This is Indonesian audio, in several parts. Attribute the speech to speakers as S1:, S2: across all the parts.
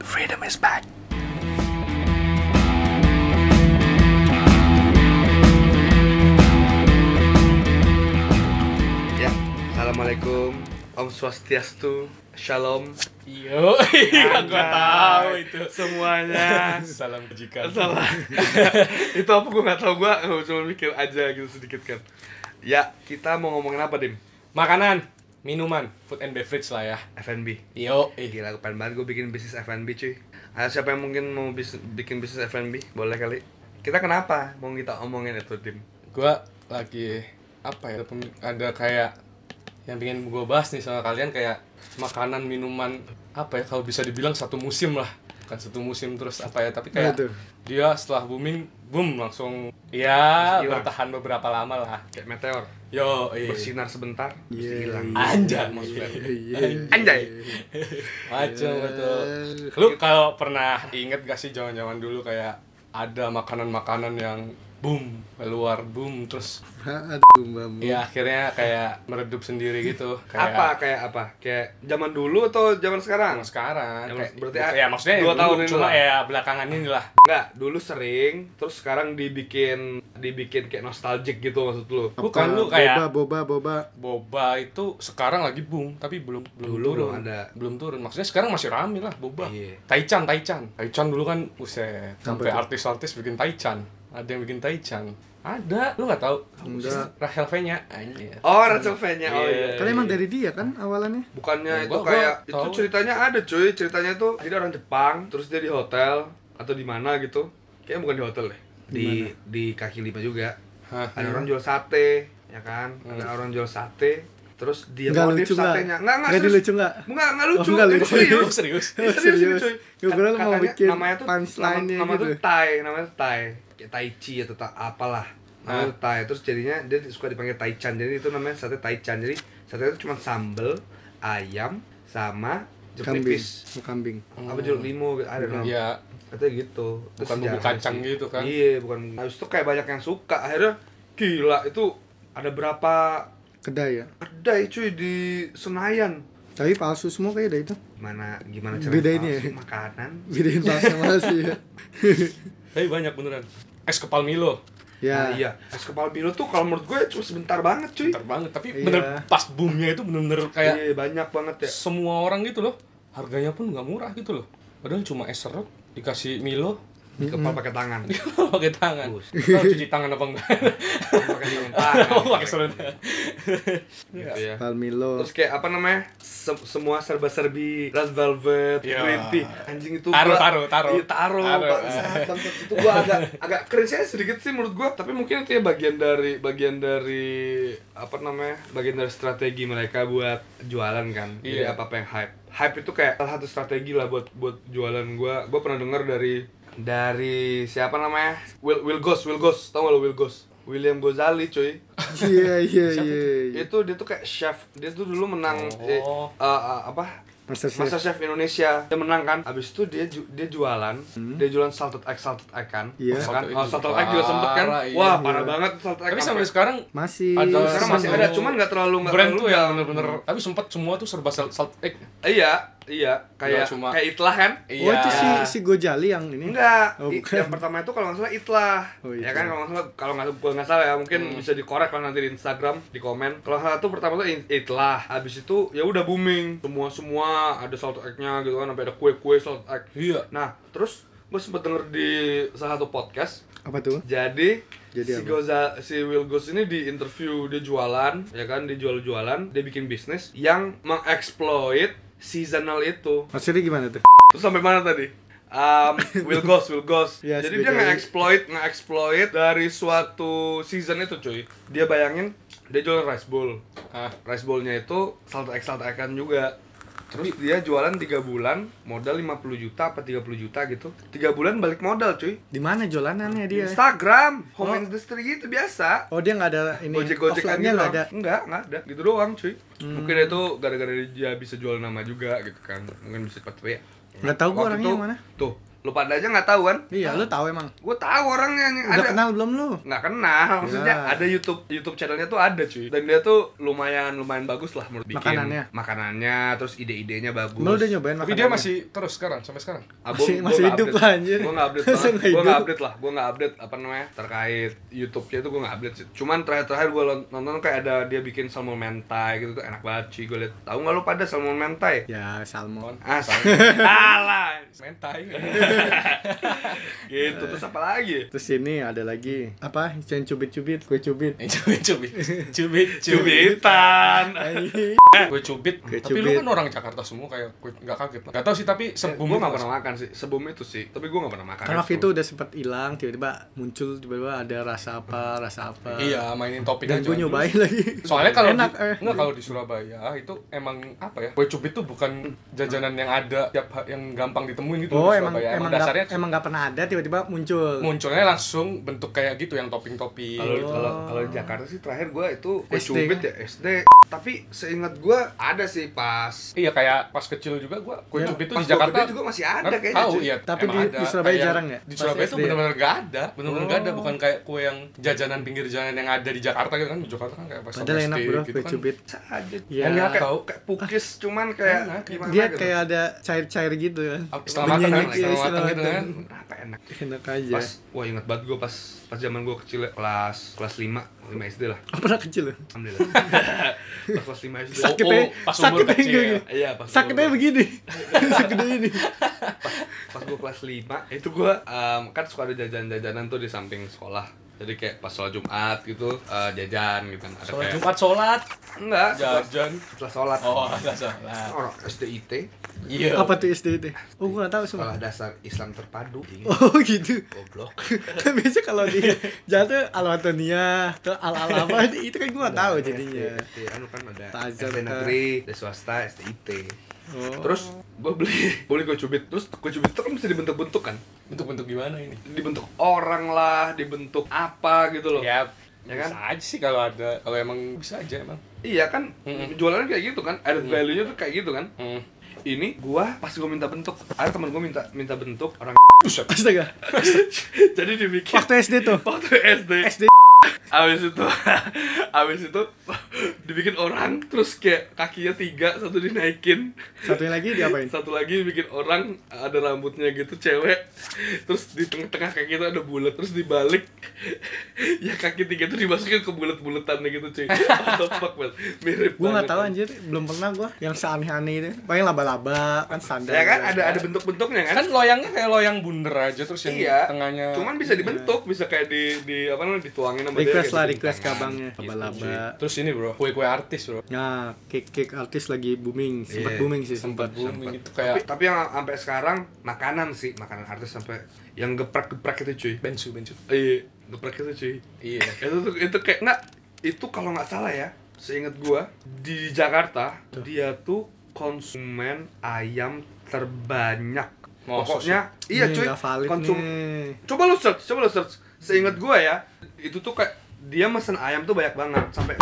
S1: Freedom is back. Ya, assalamualaikum, Om Swastiastu, Shalom,
S2: Yo, iya gua tahu itu.
S1: semuanya.
S2: Salam kejikan.
S1: Salah. itu apa gue nggak tahu gue cuma mikir aja gitu sedikit kan. Ya, kita mau ngomongin apa, Dim?
S2: Makanan, minuman, food and beverage lah ya.
S1: F&B.
S2: Yo,
S1: Ih,
S2: eh.
S1: Gila, gue pengen banget gue bikin bisnis F&B cuy Ada siapa yang mungkin mau bis- bikin bisnis F&B? Boleh kali Kita kenapa mau kita omongin itu, Dim?
S2: gua lagi apa ya? ada pem- Ada kayak yang pengen gua bahas nih sama kalian kayak makanan, minuman, apa ya kalau bisa dibilang satu musim lah. Kan satu musim terus apa ya, tapi kayak
S3: Waduh.
S2: dia setelah booming, boom langsung ya
S1: Terus hilang.
S2: bertahan beberapa lama lah.
S1: Kayak meteor
S2: Yo, eh.
S1: Bersinar sebentar, terus
S3: Iya,
S1: hilang
S3: iya.
S2: Anjay maksudnya.
S1: Iya. Anjay
S2: Macam
S1: Eh,
S2: betul. Lu kalau pernah inget gak sih zaman-zaman dulu kayak ada makanan-makanan yang boom keluar boom terus
S3: Aduh, Mbak.
S2: ya akhirnya kayak meredup sendiri gitu
S1: Hmm. Apa?
S2: kayak
S1: Kayak apa? Kayak zaman dulu atau zaman sekarang?
S2: yang
S1: Ya,
S2: sekarang kayak,
S1: berarti
S2: bukan-
S1: ya,
S2: ya maksudnya
S1: dua
S2: dua
S1: tahun
S2: tahun
S1: ini
S2: cuma
S1: lah.
S2: ya belakangan inilah
S1: Enggak, dulu sering Terus sekarang dibikin dibikin kayak nostalgic gitu maksud lu
S2: bukan lu kayak
S3: boba boba boba
S2: boba itu sekarang lagi boom tapi belum belum
S1: Dulu
S2: turun
S1: belum ada.
S2: belum turun maksudnya sekarang masih rame lah boba
S1: Iya.
S2: taichan taichan taichan dulu kan uset sampai
S3: tuh?
S2: artis-artis bikin taichan ada yang bikin taichan ada lu nggak tahu
S3: Enggak.
S2: Rahel V nya anjir
S1: Oh, Rachel V-nya, oh
S2: Iya.
S1: iya
S3: kan emang dari dia kan awalannya
S1: Bukannya
S3: Ya,
S1: itu
S2: Gua- gua
S1: kayak itu
S2: tahu.
S1: ceritanya ada cuy, ceritanya itu jadi orang Jepang terus dia di hotel atau di mana gitu. Kayaknya bukan di hotel deh. Di di kaki lima juga.
S2: Hah?
S1: Ada orang jual sate, ya kan? Ada orang jual sate terus dia
S3: Hmm. Nggak
S1: modif
S3: lucu nggak?
S1: satenya. Enggak enggak
S3: Nggak
S1: serius.
S3: dilucu nggak? Oh,
S1: Enggak enggak lucu.
S3: nggak
S1: Ini
S3: lucu.
S1: serius.
S2: serius
S1: Ini serius, ini, cuy.
S3: Gue kira lu mau
S1: Katanya
S3: bikin
S1: namanya tuh
S3: punchline-nya
S1: nama, nama
S3: gitu.
S1: tuh Tai, namanya tuh Tai. Kayak Tai Chi atau ta, apalah.
S3: Ah.
S1: Namanya tuh Tai. Terus jadinya dia suka dipanggil Taichan. Jadi itu namanya sate Taichan. Jadi sate itu cuma sambel, ayam sama jeruk
S3: kambing Hmm. Iya.
S1: nipis.
S3: Mau kambing
S1: Apa jeruk limo gitu. Ada namanya.
S2: ya
S1: Katanya gitu. Terus
S2: Bukan bumbu
S1: jarang
S2: kacang
S1: sih.
S2: gitu kan?
S1: Iya, bukan. Habis itu kayak banyak yang suka. Akhirnya gila itu ada berapa
S3: kedai ya
S1: kedai cuy di Senayan
S3: tapi palsu semua kayak ada itu
S1: gimana gimana cara
S3: Bedainnya
S1: palsu
S3: ya?
S1: makanan
S3: bedain palsu sama palsu ya
S2: tapi banyak beneran es kepal Milo
S1: Nah,
S3: ya
S1: iya es kepala biru tuh kalau menurut gue cuma sebentar banget cuy
S2: bentar banget tapi
S3: Iya.
S2: bener pas boomnya itu bener-bener kayak
S1: iya banyak banget ya
S2: semua orang gitu loh harganya pun nggak murah gitu loh padahal cuma es serut dikasih Milo
S1: kepala pakai tangan
S2: pakai tangan
S1: Bus.
S2: Tahu cuci tangan apa enggak
S1: pakai sarung tangan
S2: Oh, pakai serut
S1: gitu ya
S3: palmilo
S1: terus kayak apa namanya Se- semua serba serbi red velvet
S2: Iya.
S1: green tea anjing itu
S2: Taro,
S1: gua-
S2: taro, taro.
S1: iya taro
S2: Taro.
S1: bangsat,
S2: eh.
S1: bangsat. itu gua agak agak cringe aja sedikit sih menurut gua tapi mungkin itu ya bagian dari bagian dari apa namanya bagian dari strategi mereka buat jualan kan jadi
S2: Iya.
S1: apa apa yang hype hype itu kayak salah satu strategi lah buat buat jualan gua gua pernah dengar dari dari siapa namanya Will Will Goss Will Goss tau gak lo Will Goss William Gozali cuy
S3: iya iya
S2: Siapa
S3: iya iya.
S1: itu dia tuh kayak chef dia tuh dulu menang
S2: Oh.
S1: eh, eh, eh, apa
S3: master
S1: Master
S3: chef
S1: Chef Indonesia dia menang kan abis itu dia ju- dia jualan dia jualan salted egg salted egg kan
S3: Hmm. Iya.
S1: kan
S2: Salted egg
S1: oh,
S2: juga
S1: salted egg juga sempet kan
S2: parah, iya.
S1: wah parah banget salted egg
S2: tapi
S1: sampai-
S2: sampai sekarang
S3: masih
S2: Ada
S1: sekarang masih
S2: satu
S1: ada cuman nggak terlalu nggak
S2: brand
S1: terlalu
S2: tuh yang
S1: down.
S2: bener-bener tapi sempat semua tuh serba eh, sal- salt egg
S1: iya iya kayak
S2: Nggak cuma-
S1: kayak itlah kan
S3: oh itu
S2: iya.
S3: si si Gojali yang ini
S1: Enggak,
S3: Oh,
S1: I-
S3: bukan.
S1: yang pertama itu kalau nggak salah itlah
S3: Oh,
S1: ya
S3: Itlah. Hmm.
S1: kan kalau nggak salah kalau nggak gua nggak salah ya mungkin bisa dikorek kalau nanti di Instagram di komen kalau salah tuh pertama tuh i- itlah habis itu ya udah booming semua semua ada salted egg-nya gitu kan sampai ada kue kue salted egg
S2: iya
S1: Nah, terus gue sempet denger di salah satu podcast.
S3: apa tuh
S1: Jadi,
S3: Jadi
S1: si
S3: apa?
S1: Goza, si Will Goz ini di interview dia jualan, ya kan, dia jual-jualan, dia bikin bisnis yang mengeksploit seasonal itu.
S3: maksudnya gimana tuh
S1: Terus sampai mana tadi? Um, Will Goz, Will Goz.
S3: Yes,
S1: Jadi
S3: Will
S1: dia
S3: Goz.
S1: nge-exploit, nge-exploit dari suatu season itu cuy. Dia bayangin, dia jual rice bowl.
S2: ah
S1: Rice bowl-nya itu salted egg salted egg juga. Terus
S3: Iya.
S1: dia jualan 3 bulan, modal 50 juta apa 30 juta gitu. 3 bulan balik modal, cuy.
S3: di mana jolanannya
S1: Di
S3: dia
S1: Instagram, home
S3: Iya. Oh.
S1: industry gitu biasa.
S3: oh dia nggak ada ini
S1: Gojek-gojekan
S3: offline-nya
S1: gitu.
S3: nggak
S1: ada.
S3: ada Hmm.
S1: Enggak, enggak ada. Gitu doang, cuy. Mungkin itu gara-gara dia bisa jual nama juga gitu kan. Mungkin bisa cepat ya.
S3: Nggak tahu gua
S1: Waktu
S3: orangnya
S1: itu-
S3: yang mana.
S1: Tuh, Lu pada aja nggak tahu kan?
S3: Iya, lu tahu emang.
S1: Gue tahu orangnya yang
S3: Udah
S1: ada.
S3: kenal belum lu?
S1: nggak kenal maksudnya
S3: Ya.
S1: ada YouTube YouTube channelnya tuh ada cuy dan dia tuh lumayan lumayan bagus lah menurut bikin
S3: Makanannya?
S1: makanannya terus ide-idenya bagus
S3: Lu udah nyobain
S2: Tapi dia masih terus sekarang sampai sekarang.
S1: Ah,
S3: masih- masih hidup lah, anjir.
S1: gue nggak update
S3: Masa
S1: banget.
S3: nggak
S1: gue nggak
S3: hidup?
S1: update lah gue nggak update apa namanya terkait YouTube-nya itu gue nggak update sih cuman terakhir-terakhir gue nonton kayak ada dia bikin salmon mentai gitu tuh enak banget cuy gue liat tahu nggak lu pada salmon mentai
S3: Ya, salmon.
S1: ah salah
S2: Mentai.
S1: gitu terus apa lagi
S3: Terus ini ada lagi apa? Yang cubit-cubit, kue cubit.
S2: cubit cubit cubit Eh,
S1: cubitan
S3: Anjing.
S2: Gue cubit.
S3: Kue
S2: Tapi
S3: Eh. cubit. Eh,
S2: lu kan orang Jakarta semua kayak gue nggak kaget. lah. Nggak tahu sih tapi
S1: gue
S2: sebelum
S1: nggak pernah makan sih sebelum itu sih tapi gue nggak pernah makan
S3: Karena Kan waktu itu udah sempat hilang, tiba-tiba muncul, tiba-tiba ada rasa apa, rasa apa.
S2: Iya, mainin topik
S3: Dan
S2: aja.
S3: gue nyobain lagi.
S2: Soalnya kalau
S3: Enak,
S2: di,
S3: eh.
S2: nggak, kalau di Surabaya itu emang apa ya? Kue cubit tuh bukan jajanan yang ada tiap ha- yang gampang ditemuin gitu
S3: Oh,
S2: di
S3: emang
S2: Surabaya.
S3: emang
S2: dasarnya
S3: gak, emang gak pernah ada tiba-tiba muncul.
S2: munculnya langsung bentuk kayak gitu yang topping-topping.
S1: Kalau
S3: Oh.
S1: kalau kalau di Jakarta sih terakhir gua itu gue
S3: SD,
S1: cubit
S3: kan?
S1: ya SD. Tapi seingat gua ada sih pas
S2: Iya kayak pas kecil juga gua kue
S3: Ya,
S2: cubit tuh
S1: Iya. pas
S2: di
S1: gua
S2: Jakarta
S1: gede juga masih ada
S2: Nggak
S1: kayaknya.
S2: tahu,
S1: cuy.
S2: iya,
S3: Tapi
S2: emang
S3: di- di Surabaya jarang ya?
S2: Di
S3: Pas
S2: Surabaya tuh
S3: SD ya?
S2: benar-benar nggak ada, benar-benar nggak ada.
S3: Oh.
S2: Bukan kayak kue yang jajanan pinggir jalan yang ada di Jakarta gitu kan. Di Jakarta kan kayak pas
S3: Padahal
S2: SD
S3: enak bro,
S2: gitu
S3: kue
S2: kan.
S3: cubit.
S1: Bisa aja.
S3: Iya.
S1: Kayak- kayak,
S2: Tahu.
S1: kayak pukis cuman kayak
S2: Enak,
S1: gimana
S3: Ah, ya. Dia
S1: gitu.
S3: kayak ada cair-cair gitu kan.
S2: Apa, Setelah matang kan,
S3: Menyenyek, iya,
S2: setelah matang
S3: setelah
S2: gitu
S3: matang.
S2: kan.
S1: Kenapa enak?
S3: Enak
S2: Iya.
S3: aja.
S1: Pas wah ingat banget gua pas pas zaman gua kecil ya, kelas kelas 5, 5 SD lah.
S3: Oh, pernah kecil lu?
S1: Alhamdulillah. pas kelas 5 SD.
S3: Sakit
S2: Oh,
S3: aja,
S2: oh, pas umur
S3: sakit aja
S2: kecil.
S3: gini.
S1: Iya, pas
S3: Sakit
S1: gua-
S3: aja begini. Segede ini.
S1: pas gue kelas 5 itu gue em, kan suka ada jajan-jajanan tuh di samping sekolah jadi kayak pas sholat Jumat gitu eh, jajan gitu kan ada
S2: Sholat
S1: kayak
S2: Jumat sholat,
S1: enggak setelah,
S2: jajan.
S1: setelah sholat
S2: Oh, ada sholat.
S1: orang SDIT
S2: Iya.
S3: Apa tuh SD itu? Oh, gue gak tau
S1: sekolah
S3: semua.
S1: dasar Islam terpadu Ini
S3: Oh gitu.
S1: goblok
S3: kan biasa kalau di jatuh al Antonia atau al al apa itu kan gua nggak tahu
S1: Nah,
S3: jadinya
S1: SD, anu kan ada
S3: Tajam,
S1: SD
S3: kan.
S1: negeri ada swasta SDIT
S3: oh.
S1: terus gue beli boleh gue cubit terus gue cubit itu kan bisa dibentuk-bentuk kan
S2: Bentuk-bentuk gimana ini?
S1: dibentuk orang lah dibentuk apa gitu loh
S2: Ya,
S1: Ya
S2: ya
S1: kan?
S2: kan? Bisa aja sih kalau ada, kalau emang bisa aja emang.
S1: iya kan
S2: Mm-mm.
S1: jualannya kayak gitu kan added
S2: Mm.
S1: value-nya tuh kayak gitu kan
S2: Hmm.
S1: ini gua pas gua minta bentuk ada teman gua minta minta bentuk orang
S2: Buset.
S3: astaga
S1: jadi dibikin
S3: waktu SD tuh
S1: waktu SD
S3: SD
S1: abis itu abis itu dibikin orang terus kayak kakinya tiga satu dinaikin
S3: satunya lagi diapain
S1: satu lagi bikin orang ada rambutnya gitu cewek terus di tengah-tengah kaki itu ada bulat terus dibalik ya kaki tiga itu dimasukin ke bulat-bulatannya gitu cuy What the fuck, man? mirip
S3: gua nggak
S1: banget.
S3: tahu anjir belum pernah gua yang seaneh-aneh itu paling laba-laba kan standar
S1: ya kan ada ada bentuk-bentuknya kan
S2: Kan loyangnya kayak loyang bunder aja terus yang
S1: iya
S2: tengahnya.
S1: cuman bisa dibentuk bisa kayak di di apa namanya dituangin sama
S3: request
S1: kayak
S3: lah
S1: bikin
S3: request ke
S1: tangan.
S3: abangnya
S1: Gitu, cuy.
S3: laba-laba
S2: Terus ini bro, kue-kue artis bro.
S3: nah kick kick artis lagi booming sempat
S1: Iya.
S3: booming sih
S2: Sempat
S3: sempat
S2: booming itu
S1: tapi,
S2: gitu, kayak
S1: tapi yang sampai sekarang makanan sih makanan artis sampai yang geprek-geprek itu cuy
S2: bensu bensu.
S1: iya geprek itu cuy
S2: Iya.
S1: itu tuh- itu kayak nggak itu kalau nggak salah ya seingat gua di Jakarta dia tuh konsumen ayam terbanyak
S2: Masa
S1: pokoknya iya
S3: Nih,
S1: cuy
S3: nggak valid
S1: konsum
S3: nih.
S1: coba lu search coba lu search seingat gua ya itu tuh kayak dia mesen ayam tuh banyak banget sampai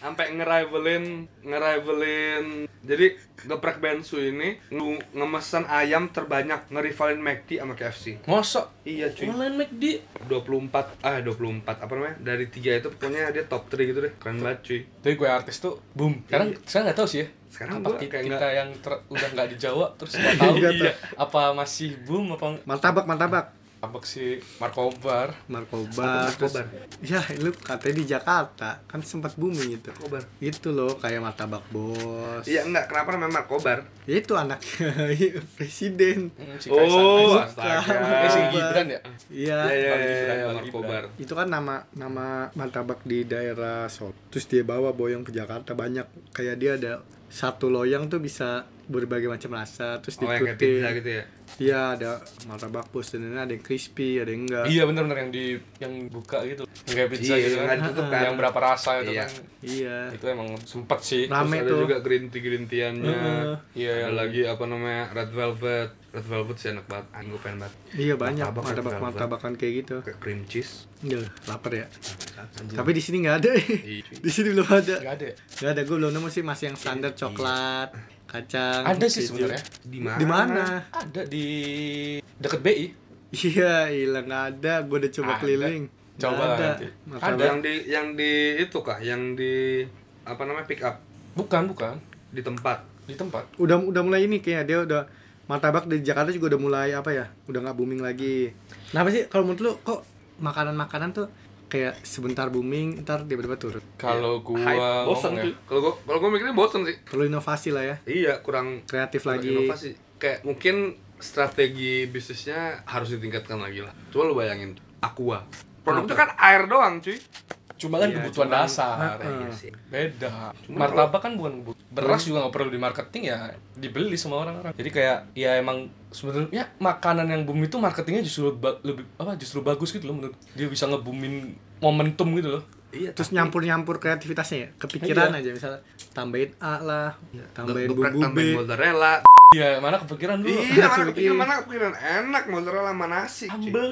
S1: sampai ngerivalin ngerivalin jadi geprek bensu ini nge- ngemesan ayam terbanyak ngerivalin McD sama KFC
S2: Mosok.
S1: iya cuy
S2: Online McD.
S1: 24 ah 24 apa namanya dari tiga itu pokoknya dia top 3 gitu deh keren banget cuy
S2: Tapi kue artis tuh boom. Sekarang
S1: Iya.
S2: sekarang nggak tahu sih ya.
S1: Sekarang
S2: apa
S1: gua
S2: ki-
S1: kayak
S2: kita
S1: nggak-
S2: yang ter- udah nggak di Jawa terus nggak tahu
S3: Nggak tahu.
S2: iya. apa masih boom apa
S3: martabak martabak
S2: abak si Markobar.
S3: Markobar,
S1: Apa tuh Markobar?
S3: terus- ya lu katanya di Jakarta kan sempat booming itu
S1: kobar
S3: itu loh kayak martabak bos
S1: iya enggak kenapa namanya kobar
S3: Ya, itu anaknya iya, presiden
S2: Hmm, si
S1: oh
S2: Kaisang.
S1: astaga
S2: Eh, si
S3: Kobar.
S2: Gibran ya.
S1: ya ya
S3: iya
S2: Bang
S1: ya,
S2: Gibran,
S1: ya
S2: Bang
S1: kobar
S3: itu kan nama nama martabak di daerah Solo terus dia bawa boyong ke Jakarta banyak kayak dia ada satu loyang tuh bisa berbagai macam rasa terus
S1: oh yang kayak
S3: diikuti
S1: pizza gitu ya
S3: iya ada martabak bos dan lain-lain, ada yang crispy ada yang enggak
S2: Iya benar-benar yang di yang buka gitu. Yang kayak pizza
S1: Iya,
S2: gitu
S1: yang
S2: kan.
S1: nggak ditutup kan.
S2: Yang berapa rasa itu
S1: Iya.
S2: kan.
S3: iya
S2: Itu emang sempet sih.
S3: Nah, Rame
S1: Terus ada
S3: tuh.
S1: juga green tea green tea-annya.
S3: Heeh.
S2: Iya,
S1: Ada
S2: yang-
S1: lagi apa namanya red velvet. Red velvet sih enak banget. Anjing gue pengen banget.
S3: iya banyak
S1: Martabak,
S3: martabak
S1: martabak.
S3: martabakan kayak gitu
S1: Kayak cream cheese.
S3: Duh, lapar ya
S1: Anjing.
S3: tapi di sini nggak ada
S1: Iya, cuy.
S3: di sini belum ada
S2: Gak ada ya?
S3: nggak ada gue belum nemu sih masih yang standar coklat kacang
S2: Ada sih
S3: keju.
S2: sebenarnya.
S1: Di mana?
S3: di mana
S2: Ada di deket BI.
S3: iya hilang ada gue udah coba
S2: Ada.
S3: keliling Nggak
S2: Coba lah
S3: ada
S2: nanti.
S3: martabak
S1: Yang di yang di itu kah? Yang di apa namanya pick up
S2: Bukan, bukan.
S1: di tempat.
S2: Di tempat.
S3: udah udah mulai ini kayaknya dia udah martabak di Jakarta juga udah mulai apa ya udah nggak booming lagi kenapa sih kalau menurut lu kok makanan-makanan tuh kayak sebentar booming ntar tiba-tiba turun
S2: Kalau
S1: Hype.
S2: gua
S1: bosen
S2: ngomong
S1: sih.
S2: ya,
S1: Kalau gua kalau gua mikirnya bosen sih.
S3: perlu inovasi lah ya
S1: Iya, kurang
S3: kreatif
S1: kurang
S3: lagi
S1: inovasi. Kayak mungkin strategi bisnisnya harus ditingkatkan lagi lah. Coba lu bayangin Aqua. Produk itu kan air doang, cuy.
S2: cuma kan
S3: Iya,
S2: kebutuhan
S3: cuman-
S2: dasar.
S3: Heeh.
S1: Iya sih.
S2: Beda. Martabak kan bukan kebutuhan. Beras juga nggak perlu di marketing ya, dibeli sama orang-orang. Jadi kayak ya emang sebenarnya ya, makanan yang boom itu marketingnya justru ba- lebih apa justru bagus gitu loh menurut dia bisa ngebumin momentum gitu loh.
S1: Iya,
S3: terus
S1: tapi-
S3: nyampur-nyampur kreativitasnya ya kepikiran
S2: Iya.
S3: aja misalnya tambahin A lah tambahin
S1: Geprek,
S3: bumbu B
S1: tambahin mozzarella.
S2: Iya, mana kepikiran dulu.
S1: Iya,
S3: Langsung
S1: mana kepikiran,
S3: ini.
S1: mana kepikiran enak mozzarella sama nasi. cuy.
S2: Sambel.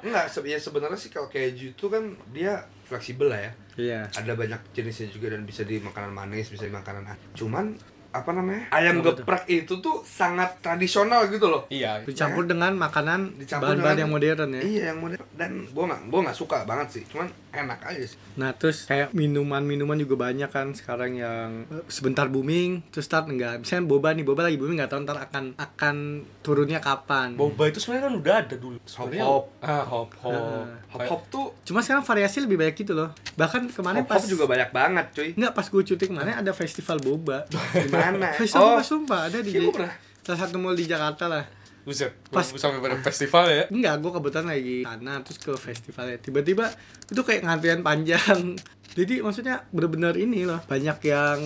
S1: Enggak, se- ya sebenarnya sih kalau keju itu kan dia fleksibel lah ya.
S3: iya
S1: Ada banyak jenisnya juga dan bisa di makanan manis, bisa di makanan ha- Cuman apa namanya? Ayam
S3: Apa tuh?
S1: geprek itu tuh sangat tradisional gitu loh.
S2: Iya.
S3: dicampur dengan makanan
S1: Dicampur
S3: bahan-bahan
S1: dengan-
S3: yang modern ya
S1: Iya, yang model dan gua nggak gua nggak suka banget sih. Cuman enak aja sih.
S3: Nah terus kayak minuman-minuman juga banyak kan sekarang yang eh, sebentar booming terus start enggak misalnya boba nih boba lagi booming nggak tahu ntar akan akan turunnya kapan
S2: Boba itu sebenarnya kan udah ada dulu. Sebenarnya-
S1: Hop-hop.
S2: Ah, hop hop.
S3: Ah,
S1: Hop hop tuh
S3: cuma sekarang variasi lebih banyak gitu loh bahkan kemarin
S1: hop
S3: pas
S1: hop juga banyak banget, cuy.
S3: nggak pas gue cuti kemarin ada festival boba
S1: Di mana?
S3: festival
S1: Oh,
S3: boba sumpah ada di
S1: Iya, gua pernah.
S3: salah satu mall di Jakarta lah
S2: Buset, pas
S3: Pas-
S2: sampai pada festival ya.
S3: Enggak, gue kebetulan lagi di sana terus ke festivalnya. Tiba-tiba itu kayak ngantrian panjang. Jadi maksudnya bener-bener ini loh, banyak yang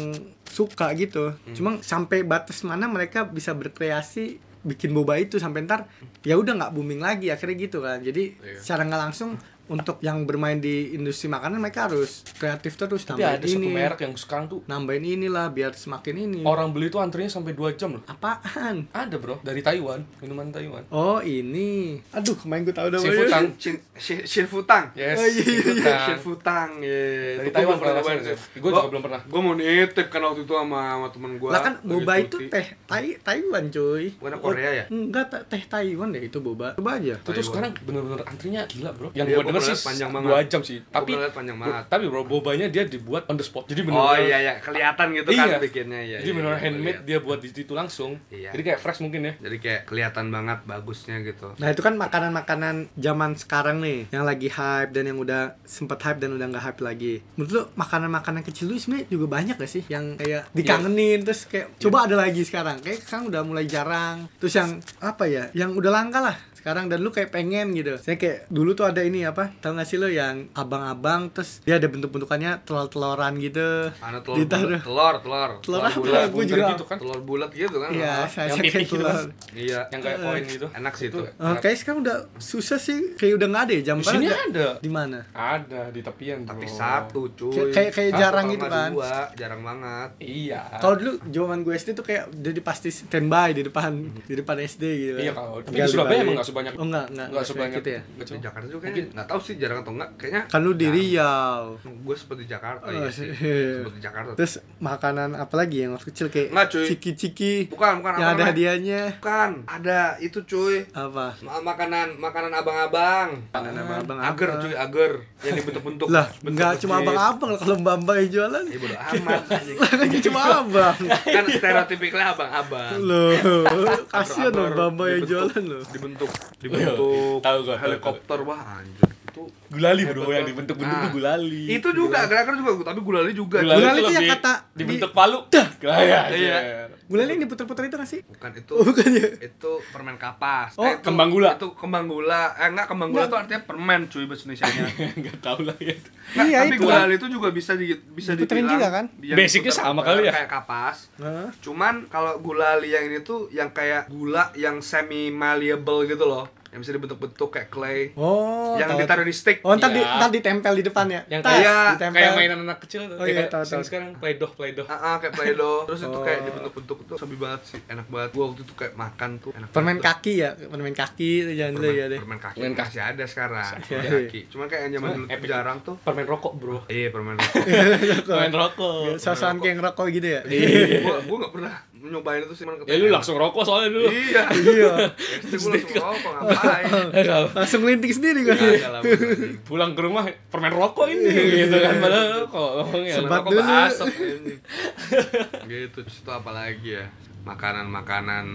S3: suka gitu.
S2: Hmm.
S3: Cuma sampai batas mana mereka bisa berkreasi bikin boba itu sampai ntar ya udah nggak booming lagi akhirnya gitu kan. Jadi
S2: Iya.
S3: secara nggak langsung untuk yang bermain di industri makanan mereka harus kreatif terus
S2: Tapi
S3: nambahin
S2: ada satu
S3: ini,
S2: merek yang sekarang tuh
S3: nambahin inilah biar semakin
S1: Iya.
S3: ini.
S2: orang beli tuh antrinya sampai 2 jam loh.
S3: Apaan?
S2: Ada bro, dari Taiwan, minuman Taiwan.
S3: Oh ini, aduh kemarin gue tahu namanya.
S2: Seafood tang.
S1: Shin- Shin- Shinfutang.
S2: Yes,
S3: Oh, iya, iya,
S2: seafood tang.
S1: Shinfutang, ya.
S2: Dari Taiwan kalau nggak salah. Gua juga belum pernah.
S1: Gue mau nitip kan waktu itu sama, sama temen gue.
S3: Lah kan boba itu teh tai Taiwan cuy.
S1: Warna Korea ya?
S3: Enggak ta- teh Taiwan deh itu boba. Coba aja.
S2: Itu tuh
S1: Taiwan.
S2: sekarang bener-bener antrinya gila bro. Yang
S1: Iya,
S2: gua
S1: gua
S2: denger
S1: pernah
S2: sih
S1: liat panjang banget.
S2: 2 jam sih. Tapi
S1: pernah liat panjang banget.
S2: Tapi bro, bobanya dia dibuat on the spot. Jadi bener
S1: Oh iya ya, kelihatan gitu kan bikinnya ya.
S2: Jadi
S1: iya,
S2: bener
S1: iya, gua
S2: handmade
S1: liat.
S2: dia buat di situ langsung.
S1: Iya.
S2: Jadi kayak fresh mungkin ya.
S1: Jadi kayak kelihatan banget bagusnya gitu.
S3: Nah itu kan makanan-makanan zaman sekarang nih yang lagi hype dan yang udah sempet hype dan udah nggak hype lagi. Menurut lu makanan-makanan kecil lu sebenarnya juga banyak gak sih yang kayak dikangenin terus kayak coba ada lagi sekarang. Kayak sekarang udah mulai jarang. Terus yang apa ya? Yang udah langka lah sekarang dan lu kayak pengen gitu. Saya kayak dulu tuh ada ini apa? Tahu gak sih lu yang abang-abang terus dia ada bentuk-bentukannya telur-teloran gitu.
S1: Karena telur bulat,
S3: Ditaruh.
S1: telur, telur.
S3: Telur apa? ya?
S1: bulat.
S3: Gua
S2: bunter
S3: juga-
S2: gitu kan.
S1: Telur bulat gitu kan.
S3: Iya,
S1: malah.
S3: saya
S2: yang
S3: sakit
S2: pipih gitu
S3: telur.
S2: kan.
S1: Iya.
S2: Yang kayak koin gitu.
S1: Enak sih itu.
S3: Eh, kayaknya sekarang udah susah sih kayak udah nggak ada ya jam
S2: Di sini
S3: berapa?
S2: ada.
S3: di mana
S2: Ada di tepian bro.
S1: Tapi satu cuy.
S3: Kayak- kayak- kayak
S1: Satu
S3: jarang
S1: kalau
S3: gitu
S1: nggak
S3: kan.
S1: Dua, jarang banget.
S2: Iya.
S3: kalau dulu zaman gue SD tuh kayak jadi pasti standby di depan di depan SD gitu
S2: Mhm. Iya, kalau- tapi
S3: Tinggal
S2: di Surabaya
S3: dibalik.
S2: emang nggak sebanyak-
S3: oh nggak nggak
S2: nggak sebanyak
S3: gitu ya
S2: Nggak
S1: Di
S2: sebanyak.
S1: Jakarta juga kayaknya. Nggak tahu sih jarang atau enggak. Kayaknya
S3: kan lu
S2: Nah.
S3: di Riau
S1: gue seperti Jakarta
S3: Oh,
S1: ya sih.
S3: iya.
S1: Seperti Jakarta.
S3: terus makanan apa lagi yang waktu kecil kayak
S1: Nggak, cuy.
S3: ciki-ciki
S1: Bukan, bukan.
S3: yang
S1: apa
S3: ada
S1: namanya?
S3: hadiahnya
S1: Bukan. Ada itu cuy.
S3: apa
S1: Ma- Makanan makanan abang-abang.
S3: makanan
S2: Kan
S3: abang-abang
S1: Agar
S3: apa?
S1: cuy, agar yang dibentuk-bentuk.
S3: lah
S1: bentuk
S3: nggak cuma
S1: masjid.
S3: abang-abang lah, kalau mbak-mbak yang jualan
S1: Ya bodo amat anjing.
S3: lah kan cuma abang
S1: Kan stereotipikalnya abang-abang.
S3: loh kasihan loh
S1: Abang-abang
S3: mbak-mbak yang
S1: dibentuk-
S3: jualan loh
S1: Dibentuk dibentuk
S2: Iya, Tahu gua, tahu
S1: helikopter wah anjir. Itu
S2: Gulali bro yang dibentuk-bentuk
S1: Nah,
S2: tuh gulali.
S1: itu
S2: kan.
S1: juga, gerakan juga, tapi gulali juga.
S3: Gulali.
S1: cuy.
S3: itu yang
S2: lebih
S3: kata di-
S2: dibentuk palu. Dah. Kayak
S1: Iya.
S3: gulali yang diputer-puter itu nggak sih
S1: Bukan itu.
S3: bukan ya
S1: Itu permen kapas. Eh,
S3: Oh,
S1: itu-
S2: kembang gula.
S1: Itu kembang gula. Eh enggak kembang gula
S3: Enggak.
S1: itu artinya permen cuy bahasa Indonesianya.
S2: Enggak tahu lah ya.
S1: Nggak,
S3: Iya,
S1: tapi
S3: itu
S1: gulali itu juga bisa di, bisa
S3: Diputerin
S1: dibilang
S3: juga kan?
S1: yang
S2: Basicnya
S1: diputer-
S2: sama kali ya?
S1: kayak kapas
S3: Hah?
S1: cuman kalau gulali yang ini tuh yang kayak gula yang semi malleable gitu loh yang bisa dibentuk-bentuk kayak clay
S3: Oh,
S1: yang
S3: tahu.
S1: ditaruh di stick
S3: Oh, ntar, di,
S2: Iya.
S3: ntar ditempel di depannya.
S2: Yang
S3: Tas,
S1: kayak-
S3: ditempel.
S2: Kayak mainan anak kecil tuh.
S3: Oh, iya,
S2: kayak
S3: tahu,
S2: sini
S3: tahu.
S2: sekarang playdoh playdoh.
S1: Ah, ah, kayak Play-Doh Terus itu kayak
S3: Oh.
S1: dibentuk-bentuk tuh Sabi banget sih Enak banget Gua waktu itu kayak makan tuh enak
S3: permen
S1: banget.
S3: kaki ya, permen kaki itu jangan dulu
S1: permen,
S3: ya deh.
S1: permen kaki
S2: Permen kaki.
S1: Iya, Masih ada sekarang Permen
S3: Iya.
S1: kaki Cuman kayak yang zaman
S2: Cuman
S1: dulu tuh
S2: epic.
S1: jarang tuh
S2: Permen rokok, Bro.
S1: Iya permen
S2: Permen rokok.
S1: Iya.
S3: Sosokan kayak ngerokok gitu ya.
S1: Gue gua gak pernah nyobain itu sih cuman
S2: Ya lu langsung rokok soalnya dulu.
S1: iya
S3: iya
S1: itu gue langsung rokok ngapain
S3: langsung linting sendiri kan
S1: Iya.
S2: Kagak lah, Bang. pulang ke rumah permen rokok ini
S3: Iya.
S2: gitu kan padahal kok ya
S3: Sempat
S1: Rokok
S3: dulu.
S1: basep ya ini. gitu terus itu apa lagi ya makanan makanan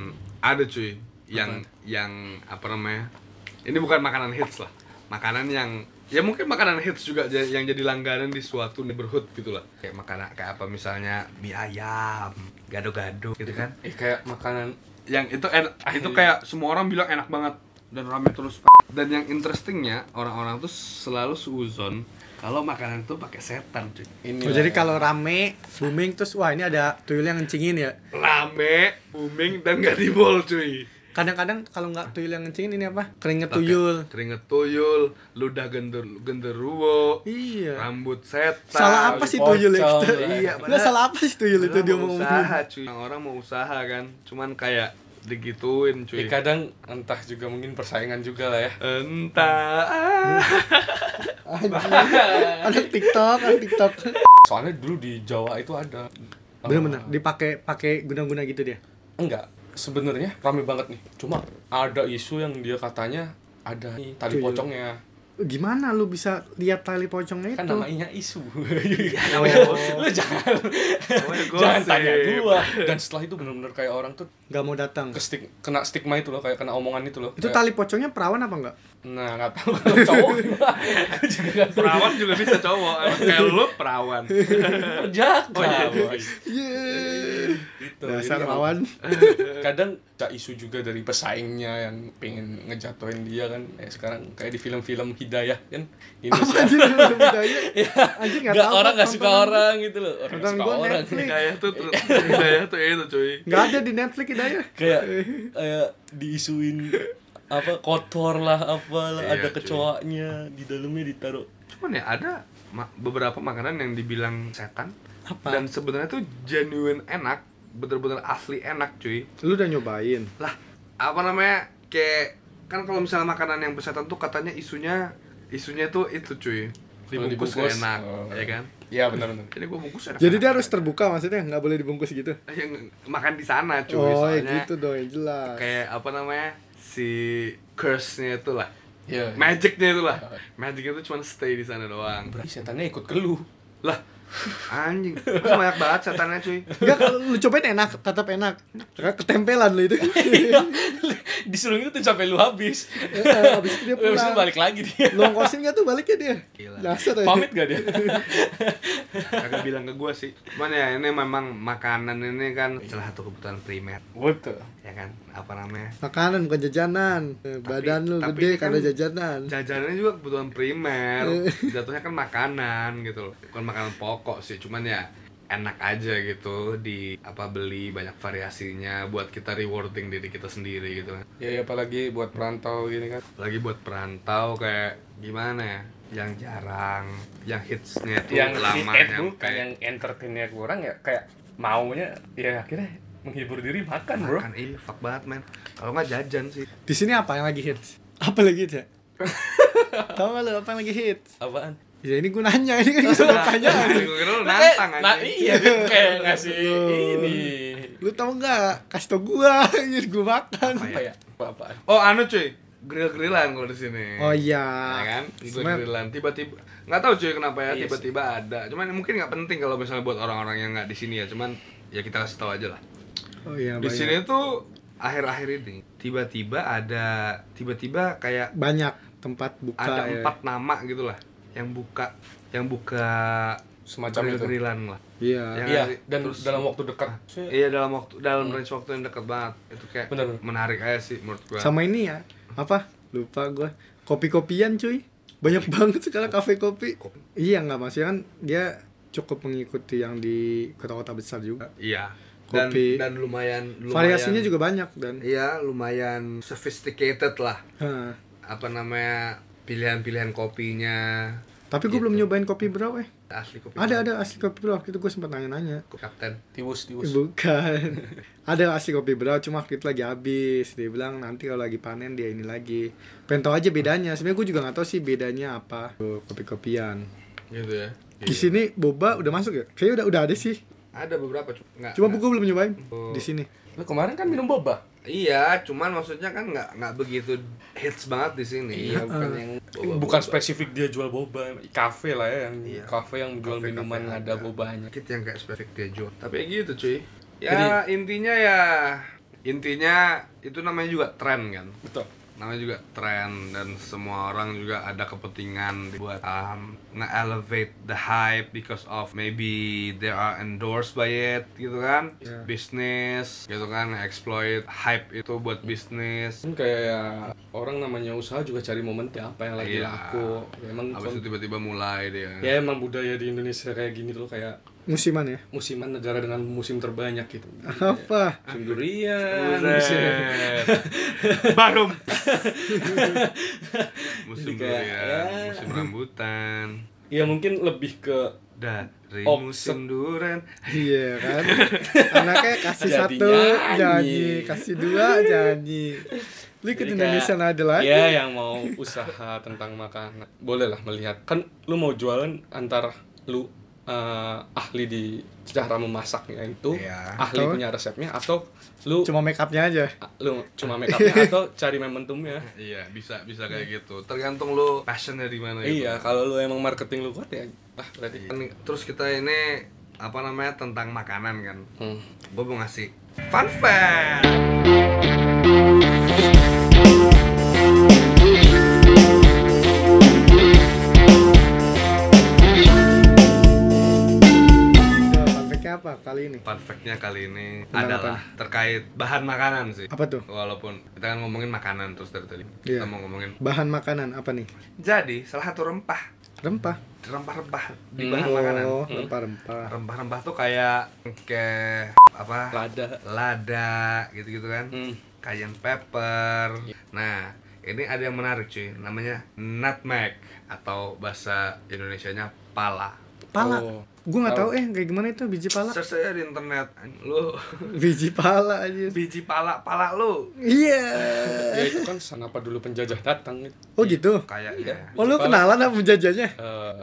S1: ada cuy yang yang apa namanya ini bukan makanan hits lah makanan yang ya mungkin makanan hits juga ja- yang jadi langganan di suatu neighborhood gitu lah kayak makanan kayak apa misalnya mie ayam gado-gado gitu kan
S2: eh kayak makanan
S1: yang itu enak,
S3: Ah,
S1: itu
S3: iya.
S1: kayak semua orang bilang enak banget dan rame terus dan yang interestingnya orang-orang tuh selalu seuzon kalau makanan tuh pakai setan cuy
S2: ini.
S3: Oh,
S2: lah
S3: jadi
S2: ya.
S3: kalau rame booming terus wah ini ada tuyul yang ngencingin ya
S1: rame booming dan gak dibol cuy
S3: kadang-kadang kalau nggak tuyul yang ngencingin ini apa keringet
S1: Pakai
S3: tuyul
S1: keringet tuyul ludah gender genderuwo
S3: iya
S1: rambut setan
S3: salah apa sih
S2: pocong
S3: tuyul ya kita
S2: lah.
S1: Iya,
S3: Nggak,
S1: padahal-
S3: salah apa sih tuyul itu dia mau
S1: usaha cuy orang mau usaha kan cuman kayak digituin
S2: Eh,
S1: cuy
S2: kadang entah juga mungkin persaingan juga lah ya.
S1: entah ah.
S3: anak tiktok anak tiktok
S2: Soalnya dulu di Jawa itu ada.
S3: bener-bener dipakai pakai guna-guna gitu dia
S2: Enggak, sebenarnya rame banget nih. Cuma ada isu yang dia katanya ada nih tali
S3: Tuyul.
S2: pocongnya.
S3: gimana lu bisa lihat tali pocongnya
S2: Kan
S3: itu Iya,
S2: namanya isu.
S1: namanya gosip.
S2: Lu jangan
S1: Namanya
S2: jangan
S1: gosip.
S2: tanya gua. Dan setelah itu bener-bener kayak orang tuh
S3: nggak mau datang
S2: ke stig- kena stigma itu loh, kayak kena omongan itu loh.
S3: itu
S2: Kayak,
S3: tali pocongnya perawan apa enggak
S2: Nah, nggak tahu kalau cowok. Gua juga nggak tahu.
S1: perawan juga bisa cowok emang kayak lu perawan
S3: Oh,
S2: Perjaka, boy.
S3: Iya.
S2: Gitu.
S3: dasar
S2: Jadi emang-
S3: perawan
S2: kadang tak isu juga dari pesaingnya yang pengen ngejatuhin dia kan eh sekarang kayak di film-film hidayah kan
S3: apa
S2: Indonesia
S3: aja lu bedanya anjir iya. nggak
S2: nggak
S3: tahu
S2: orang
S3: gua
S2: nggak suka
S3: tontonan.
S2: orang gitu loh orang nggak
S3: Tontonan
S2: suka
S3: gua
S2: orang
S3: Netflix.
S1: hidayah tuh ter- hidayah tuh itu cuy
S3: nggak ada di Netflix ya. hidayah
S2: kayak kayak diisuin apa kotor lah apalah
S1: Iya,
S2: ada
S1: cuy.
S2: kecoaknya di dalamnya ditaruh
S1: cuman ya ada ma- beberapa makanan yang dibilang setan
S3: Apa?
S1: dan sebenarnya tuh genuine enak bener-bener asli enak cuy
S3: lu udah nyobain
S1: lah apa namanya kayak kan kalau misalnya makanan yang bersetan tuh katanya isunya isunya tuh itu cuy
S2: Kalau
S1: dibungkus,
S2: dibungkus,
S1: enak
S2: oh.
S1: ya kan
S2: ya benar-benar
S1: jadi gua bungkus enak
S3: jadi dia harus terbuka maksudnya nggak boleh dibungkus gitu
S1: yang makan di sana cuy
S3: oh ya
S1: soalnya
S3: gitu dong yang jelas
S1: kayak apa namanya si curse-nya itu lah
S2: ya
S1: magicnya itu lah
S2: Oh.
S1: magicnya itu cuma stay di sana doang
S2: Ih, setannya ikut ke lu
S1: lah anjing terus banyak banget setannya cuy
S3: Enggak, kalau lu cobain enak, tetap enak. Karena ketempelan lu itu. Iya.
S2: disuruh ngikutin sampai lu habis
S3: Heeh, Eh, Habis itu dia
S2: Habis itu
S3: pulang.
S2: balik lagi dia
S3: Lu ngkosin gak tuh baliknya dia?
S1: Gila.
S3: Dasar ya.
S2: pamit gak dia
S1: kagak bilang ke gua sih cuman ya ini memang makanan ini kan salah satu kebutuhan primer
S2: betul
S1: ya kan apa namanya
S3: Makanan bukan jajanan. Eh, Badan lu
S1: tapi
S3: gede
S1: ini kan-
S3: karena jajanan.
S1: jajanannya juga kebutuhan primer jatuhnya kan makanan gitu loh bukan makanan pokok sih cuman ya enak aja gitu di apa beli banyak variasinya buat kita rewarding diri kita sendiri gitu kan
S2: ya ya, apalagi buat perantau gini kan
S1: lagi buat perantau kayak gimana ya yang jarang yang hitsnya tuh
S2: yang
S1: lama
S2: diet bukan ya?
S1: nyampe.
S2: yang entertainnya kurang ya kayak maunya ya akhirnya menghibur diri makan bro
S1: kan iya fuck banget men kalau nggak jajan sih
S3: Di sini apa yang lagi hits? Apa lagi hits ya? Tahu gak lu apa yang lagi hits?
S2: apaan
S3: Ya ini gue nanya, ini kan bisa bertanya.
S1: gue kira lu nantang
S2: nah,
S1: anjing.
S2: iya dia kayak ngasih
S3: Loh.
S2: ini
S3: Lu tau gak? Kasih tau gua, anjir gue makan.
S2: apa ya apa apaan
S1: oh anu cuy grill-grillan kalau di sini
S3: Oh
S1: ya
S3: iya.
S1: kan
S3: Cuman-
S1: grill-grillan tiba-tiba nggak tahu cuy kenapa ya
S2: Iya sih.
S1: tiba-tiba ada cuman mungkin nggak penting kalau misalnya buat orang-orang yang nggak di sini ya cuman ya kita kasih tahu aja lah
S3: Oh iya,
S1: di
S3: banyak.
S1: sini tuh akhir-akhir ini tiba-tiba ada tiba-tiba kayak
S3: banyak tempat buka
S1: ada
S3: ya.
S1: empat nama gitu lah yang buka yang buka
S2: semacam itu
S1: grill-grillan lah
S3: Iya.
S1: Ya,
S2: iya
S1: ngasih.
S2: dan
S1: Terus-
S2: dalam waktu dekat eh,
S1: Iya dalam waktu dalam range waktu yang dekat banget itu kayak
S2: Hmm. Bener, bener.
S1: menarik aja sih menurut gua.
S3: sama ini ya apa lupa gua kopi-kopian cuy banyak banget sekarang kafe kopi
S1: Kopi.
S3: iya nggak maksudnya kan dia cukup mengikuti yang di kota-kota besar juga
S1: Iya. Dan
S3: Kopi.
S1: dan lumayan, lumayan
S3: variasinya juga banyak dan
S1: Iya lumayan sophisticated lah
S3: Hah.
S1: apa namanya pilihan-pilihan kopinya
S3: tapi
S1: Gitu.
S3: gue belum nyobain kopi bro eh
S1: asli kopi.
S3: ada ada asli kopi bro waktu itu gue sempat nanya-nanya
S1: Kapten.
S2: tiwus tiwus
S3: bukan ada asli kopi bro cuma waktu itu lagi habis dia bilang nanti kalau lagi panen dia ini lagi pengen tau aja bedanya sebenarnya gue juga nggak tahu sih bedanya apa Tuh, kopi-kopian
S1: Gitu ya.
S3: di sini boba udah masuk ya kayaknya udah udah ada sih
S1: Ada beberapa cuma nggak.
S3: Cuma
S1: nggak-
S3: gue belum nyobain
S1: Oh.
S3: di sini.
S2: Lu kemarin kan minum boba.
S1: Iya, cuman maksudnya kan nggak nggak begitu hits banget di sini. Ya,
S2: Iya, bukan yang bukan spesifik dia jual boba, kafe lah ya yang
S1: Iya.
S2: kafe yang jual
S1: Kafe-kafe
S2: minuman
S1: ada.
S2: ada bobanya.
S1: Dikit yang kayak spesifik dia jual. Tapi ya gitu cuy. Ya
S2: Jadi-
S1: intinya ya intinya itu namanya juga tren kan.
S2: Betul.
S1: Namanya juga tren dan semua orang juga ada kepentingan buat um, nge-elevate the hype because of maybe they are endorsed by it gitu kan.
S2: Iya.
S1: Bisnis gitu kan exploit hype itu buat bisnis.
S2: Kan kayak orang namanya usaha juga cari momen ya, apa yang lagi
S1: Iya.
S2: laku. Emang
S1: Habis itu tiba-tiba mulai dia.
S2: ya emang budaya di Indonesia kayak gini tuh kayak
S3: Musiman ya.
S2: musiman negara dengan musim terbanyak gitu.
S3: Ah.
S1: Iya.
S3: Apa?
S2: Musim durian, musim-
S1: Buset. Barum. musim
S2: Jadi kayak,
S1: durian,
S2: ya.
S1: musim rambutan.
S2: Ya mungkin lebih ke
S1: Dari
S2: Offset.
S1: musim durian.
S3: Iya kan. Anaknya kasih
S2: Jadi
S3: satu
S2: nyanyi.
S3: nyanyi, kasih dua nyanyi. Lu ikut
S2: Jadi
S3: Indonesian
S2: kayak-
S3: Idol aja.
S2: Iya, yang mau usaha tentang makanan. Bolehlah melihat. Kan lu mau jualan antara lu eh, ahli di cara memasaknya itu,
S1: Iya.
S2: ahli
S3: Atau-
S2: punya resepnya atau lu
S3: Cuma make upnya aja.
S2: a- lu cuma make up-nya atau cari momentumnya.
S1: Iya, bisa bisa kayak gitu. Tergantung lu passionnya di mana gitu.
S2: Iya, kalau lu emang marketing lu kuat ya. Ah, berarti.
S3: Iya.
S1: Kan, Terus kita ini apa namanya tentang makanan kan.
S2: Hmm.
S1: Gue mau ngasih fun fact.
S3: Coba fun fact-nya apa kali ini?
S1: Fun fact-nya kali ini
S3: Tentang
S1: adalah terkait bahan makanan sih.
S3: Apa tuh?
S1: Walaupun kita kan ngomongin makanan terus dari tadi.
S3: Iya.
S1: Kita mau ngomongin.
S3: Bahan makanan apa nih?
S1: Jadi, salah satu rempah
S3: Rempah.
S1: rempah-rempah di
S2: Hmm.
S1: bahan makanan.
S3: Oh, rempah-rempah.
S1: Rempah-rempah tuh kayak kayak apa?
S2: Lada.
S1: Lada gitu-gitu kan.
S2: Hmm.
S1: Cayenne pepper. Nah, ini ada yang menarik cuy, namanya nutmeg atau bahasa Indonesianya pala.
S3: Pala.
S2: Oh.
S3: Gue nggak tahu
S2: Tahu.
S3: eh kayak gimana itu biji pala.
S1: Search aja di internet, lu
S3: Biji pala aja.
S1: biji pala pala lu
S3: Iya.
S2: Ya itu kan kenapa dulu penjajah datang gitu.
S3: Oh gitu.
S1: Iya. kayaknya.
S3: Oh lu kenalan sama penjajahnya?
S2: Eh,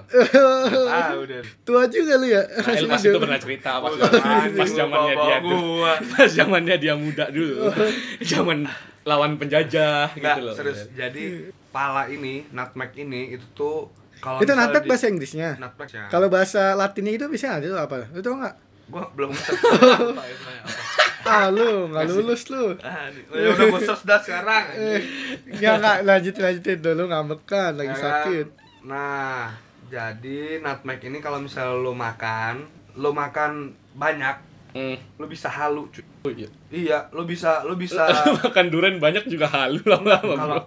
S1: Ah, udah.
S3: Tua juga lu ya?
S2: nah, Elmas itu pernah cerita pas zaman- pas zamannya dia dulu.
S1: Iya, gua. Nah,
S2: pas zamannya dia muda dulu zaman lawan penjajah
S1: Nggak,
S2: gitu
S1: Nah,
S2: loh
S1: serius. Jadi pala ini, nutmeg ini itu tuh kalau
S3: Itu
S1: misalnya
S3: nantek
S1: di-
S3: bahasa Inggrisnya.
S1: nutmeg ya.
S3: Kalau bahasa Latinnya itu bisa ada tuh apa? Lu tau nggak?
S1: gua belum search apa itu ya, apa.
S3: Ah lu nggak lulus lu.
S1: Ah, di- oh, ya udah gua search dah sekarang
S3: Eh, nggak nggak lanjutin lanjutin dulu ngambek kan
S1: Ya
S3: lagi
S1: kan?
S3: sakit.
S1: nah jadi nutmeg ini kalau misalnya lo makan lo makan banyak
S2: Hmm.
S1: lo bisa halu cuy
S2: Oh, iya.
S1: iya lo bisa lo bisa
S2: makan durian banyak juga halu lama-lama bro
S1: kalau kalau-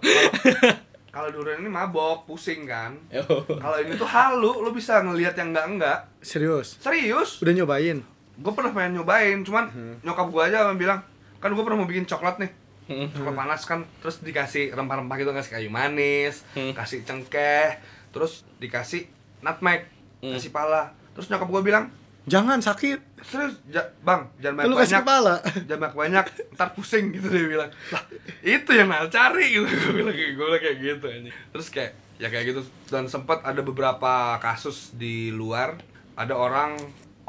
S1: kalau durian ini mabok pusing kan
S2: Yo.
S1: kalau ini tuh halu lo bisa ngelihat yang enggak enggak
S3: Serius.
S1: serius
S3: Udah nyobain.
S1: gue pernah pengen nyobain cuman nyokap gue aja yang bilang kan gue pernah mau bikin coklat nih
S2: Hmm.
S1: coklat panas kan terus dikasih rempah-rempah gitu kasih kayu manis
S2: Hmm.
S1: kasih cengkeh terus dikasih nutmeg
S2: Hmm.
S1: kasih pala terus nyokap gue bilang
S3: Jangan sakit.
S1: serius Ja- bang jangan
S3: Lu
S1: banyak
S3: kasih
S1: banyak
S3: kepala.
S1: jangan banyak banyak ntar pusing gitu dia bilang lah itu yang Nal cari gitu gue bilang kayak gue bilang kayak gitu anjing. terus kayak ya kayak gitu dan sempat ada beberapa kasus di luar ada orang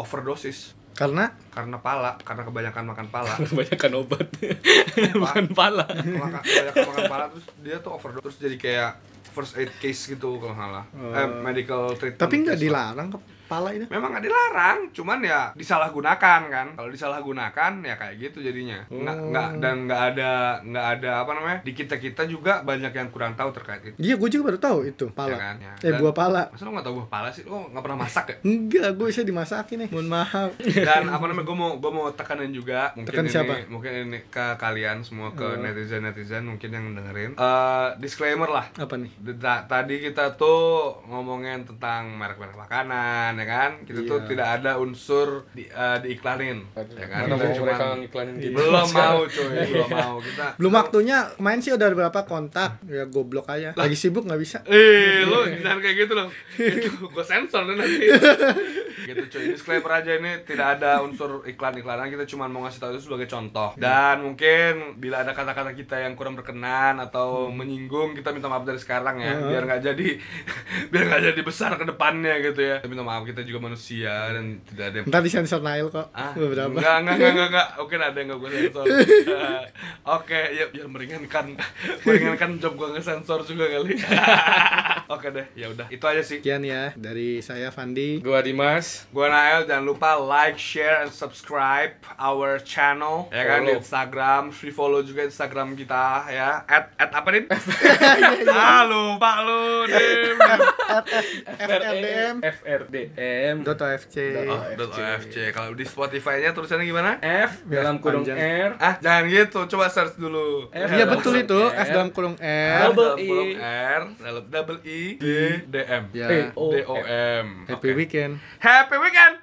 S1: overdosis
S3: Karena
S1: karena pala karena kebanyakan makan pala
S2: kebanyakan obat bukan pala
S1: Maka- kebanyakan makan pala terus dia tuh overdose terus jadi kayak first aid case gitu kalau nggak salah eh,
S3: Oh.
S1: medical treatment
S3: tapi nggak
S1: case lah.
S3: dilarang kepala itu.
S1: memang nggak dilarang cuman ya disalahgunakan kan kalau disalahgunakan ya kayak gitu jadinya nggak
S3: Oh.
S1: nggak dan nggak ada nggak ada apa namanya di kita kita juga banyak yang kurang tahu terkait itu
S3: Iya, gue juga baru tahu itu pala.
S1: Ya kan, ya.
S3: Eh,
S1: Dan-
S3: buah pala.
S1: masa lo nggak tahu buah pala sih lo nggak pernah masak ya
S3: Enggak, gue bisa dimasakin nih. Mohon maaf.
S1: dan apa namanya gue mau gue mau tekanin juga mungkin
S3: Tekan
S1: ini
S3: siapa?
S1: mungkin ini ke kalian semua ke
S3: Oh.
S1: netizen netizen mungkin yang dengerin Eh, disclaimer lah
S3: Apa nih?
S1: D- ta- nah, tadi kita tuh ngomongin tentang merek-merek makanan ya kan kita tuh
S2: Iya.
S1: tidak ada unsur di, eh, diiklanin ya kan Kita
S2: Mana mau mereka
S1: cuman-
S2: ngiklanin gitu
S1: belum mau cuy belum mau kita
S3: Belum waktunya. Main sih udah berapa kontak? Ya goblok aja. Lagi sibuk nggak bisa.
S1: Iya. Eh, lu jangan kayak gitu dong. Itu gua sensor deh nanti. gitu cuy disclaimer aja ini tidak ada unsur iklan-iklanan kita cuma mau ngasih tahu itu sebagai contoh dan mungkin bila ada kata-kata kita yang kurang berkenan atau menyinggung kita minta maaf dari sekarang ya biar nggak jadi biar nggak jadi besar ke depannya gitu ya kita minta maaf kita juga manusia dan tidak ada yang
S3: Ntar disensor Nail kok
S1: Ah,
S3: beberapa.
S1: Enggak, enggak, enggak, enggak, enggak. Oke, ada yang enggak gue sensor. Eh, Oke, ya biar meringankan meringankan job gue ngesensor juga kali. Oke deh, ya udah. Itu aja sih.
S3: Sekian ya dari saya Fandi.
S2: Gua Dimas.
S1: Gue Nael, jangan lupa like, share, and subscribe our channel ya kan di
S2: Follow.
S1: Instagram, free follow juga Instagram kita ya. At at apa nih? ah lupa lu dim.
S3: FRDM.
S2: FRDM.
S3: E Dot OFC.
S2: Dot
S1: E Dot OFC. Kalau di Spotify-nya tulisannya gimana?
S2: F dalam kurung R.
S3: Panjang.
S1: Ah, jangan gitu. Coba search dulu.
S2: F.
S3: Iya betul itu
S2: F.
S3: F dalam kurung
S1: R
S3: R.
S2: Double
S1: dalam
S2: E.
S1: kurung R dalam double E D D M
S3: Ya.
S2: Eh,
S1: D O M
S2: D-O-M.
S1: Oke.
S3: Happy weekend.
S1: Happy weekend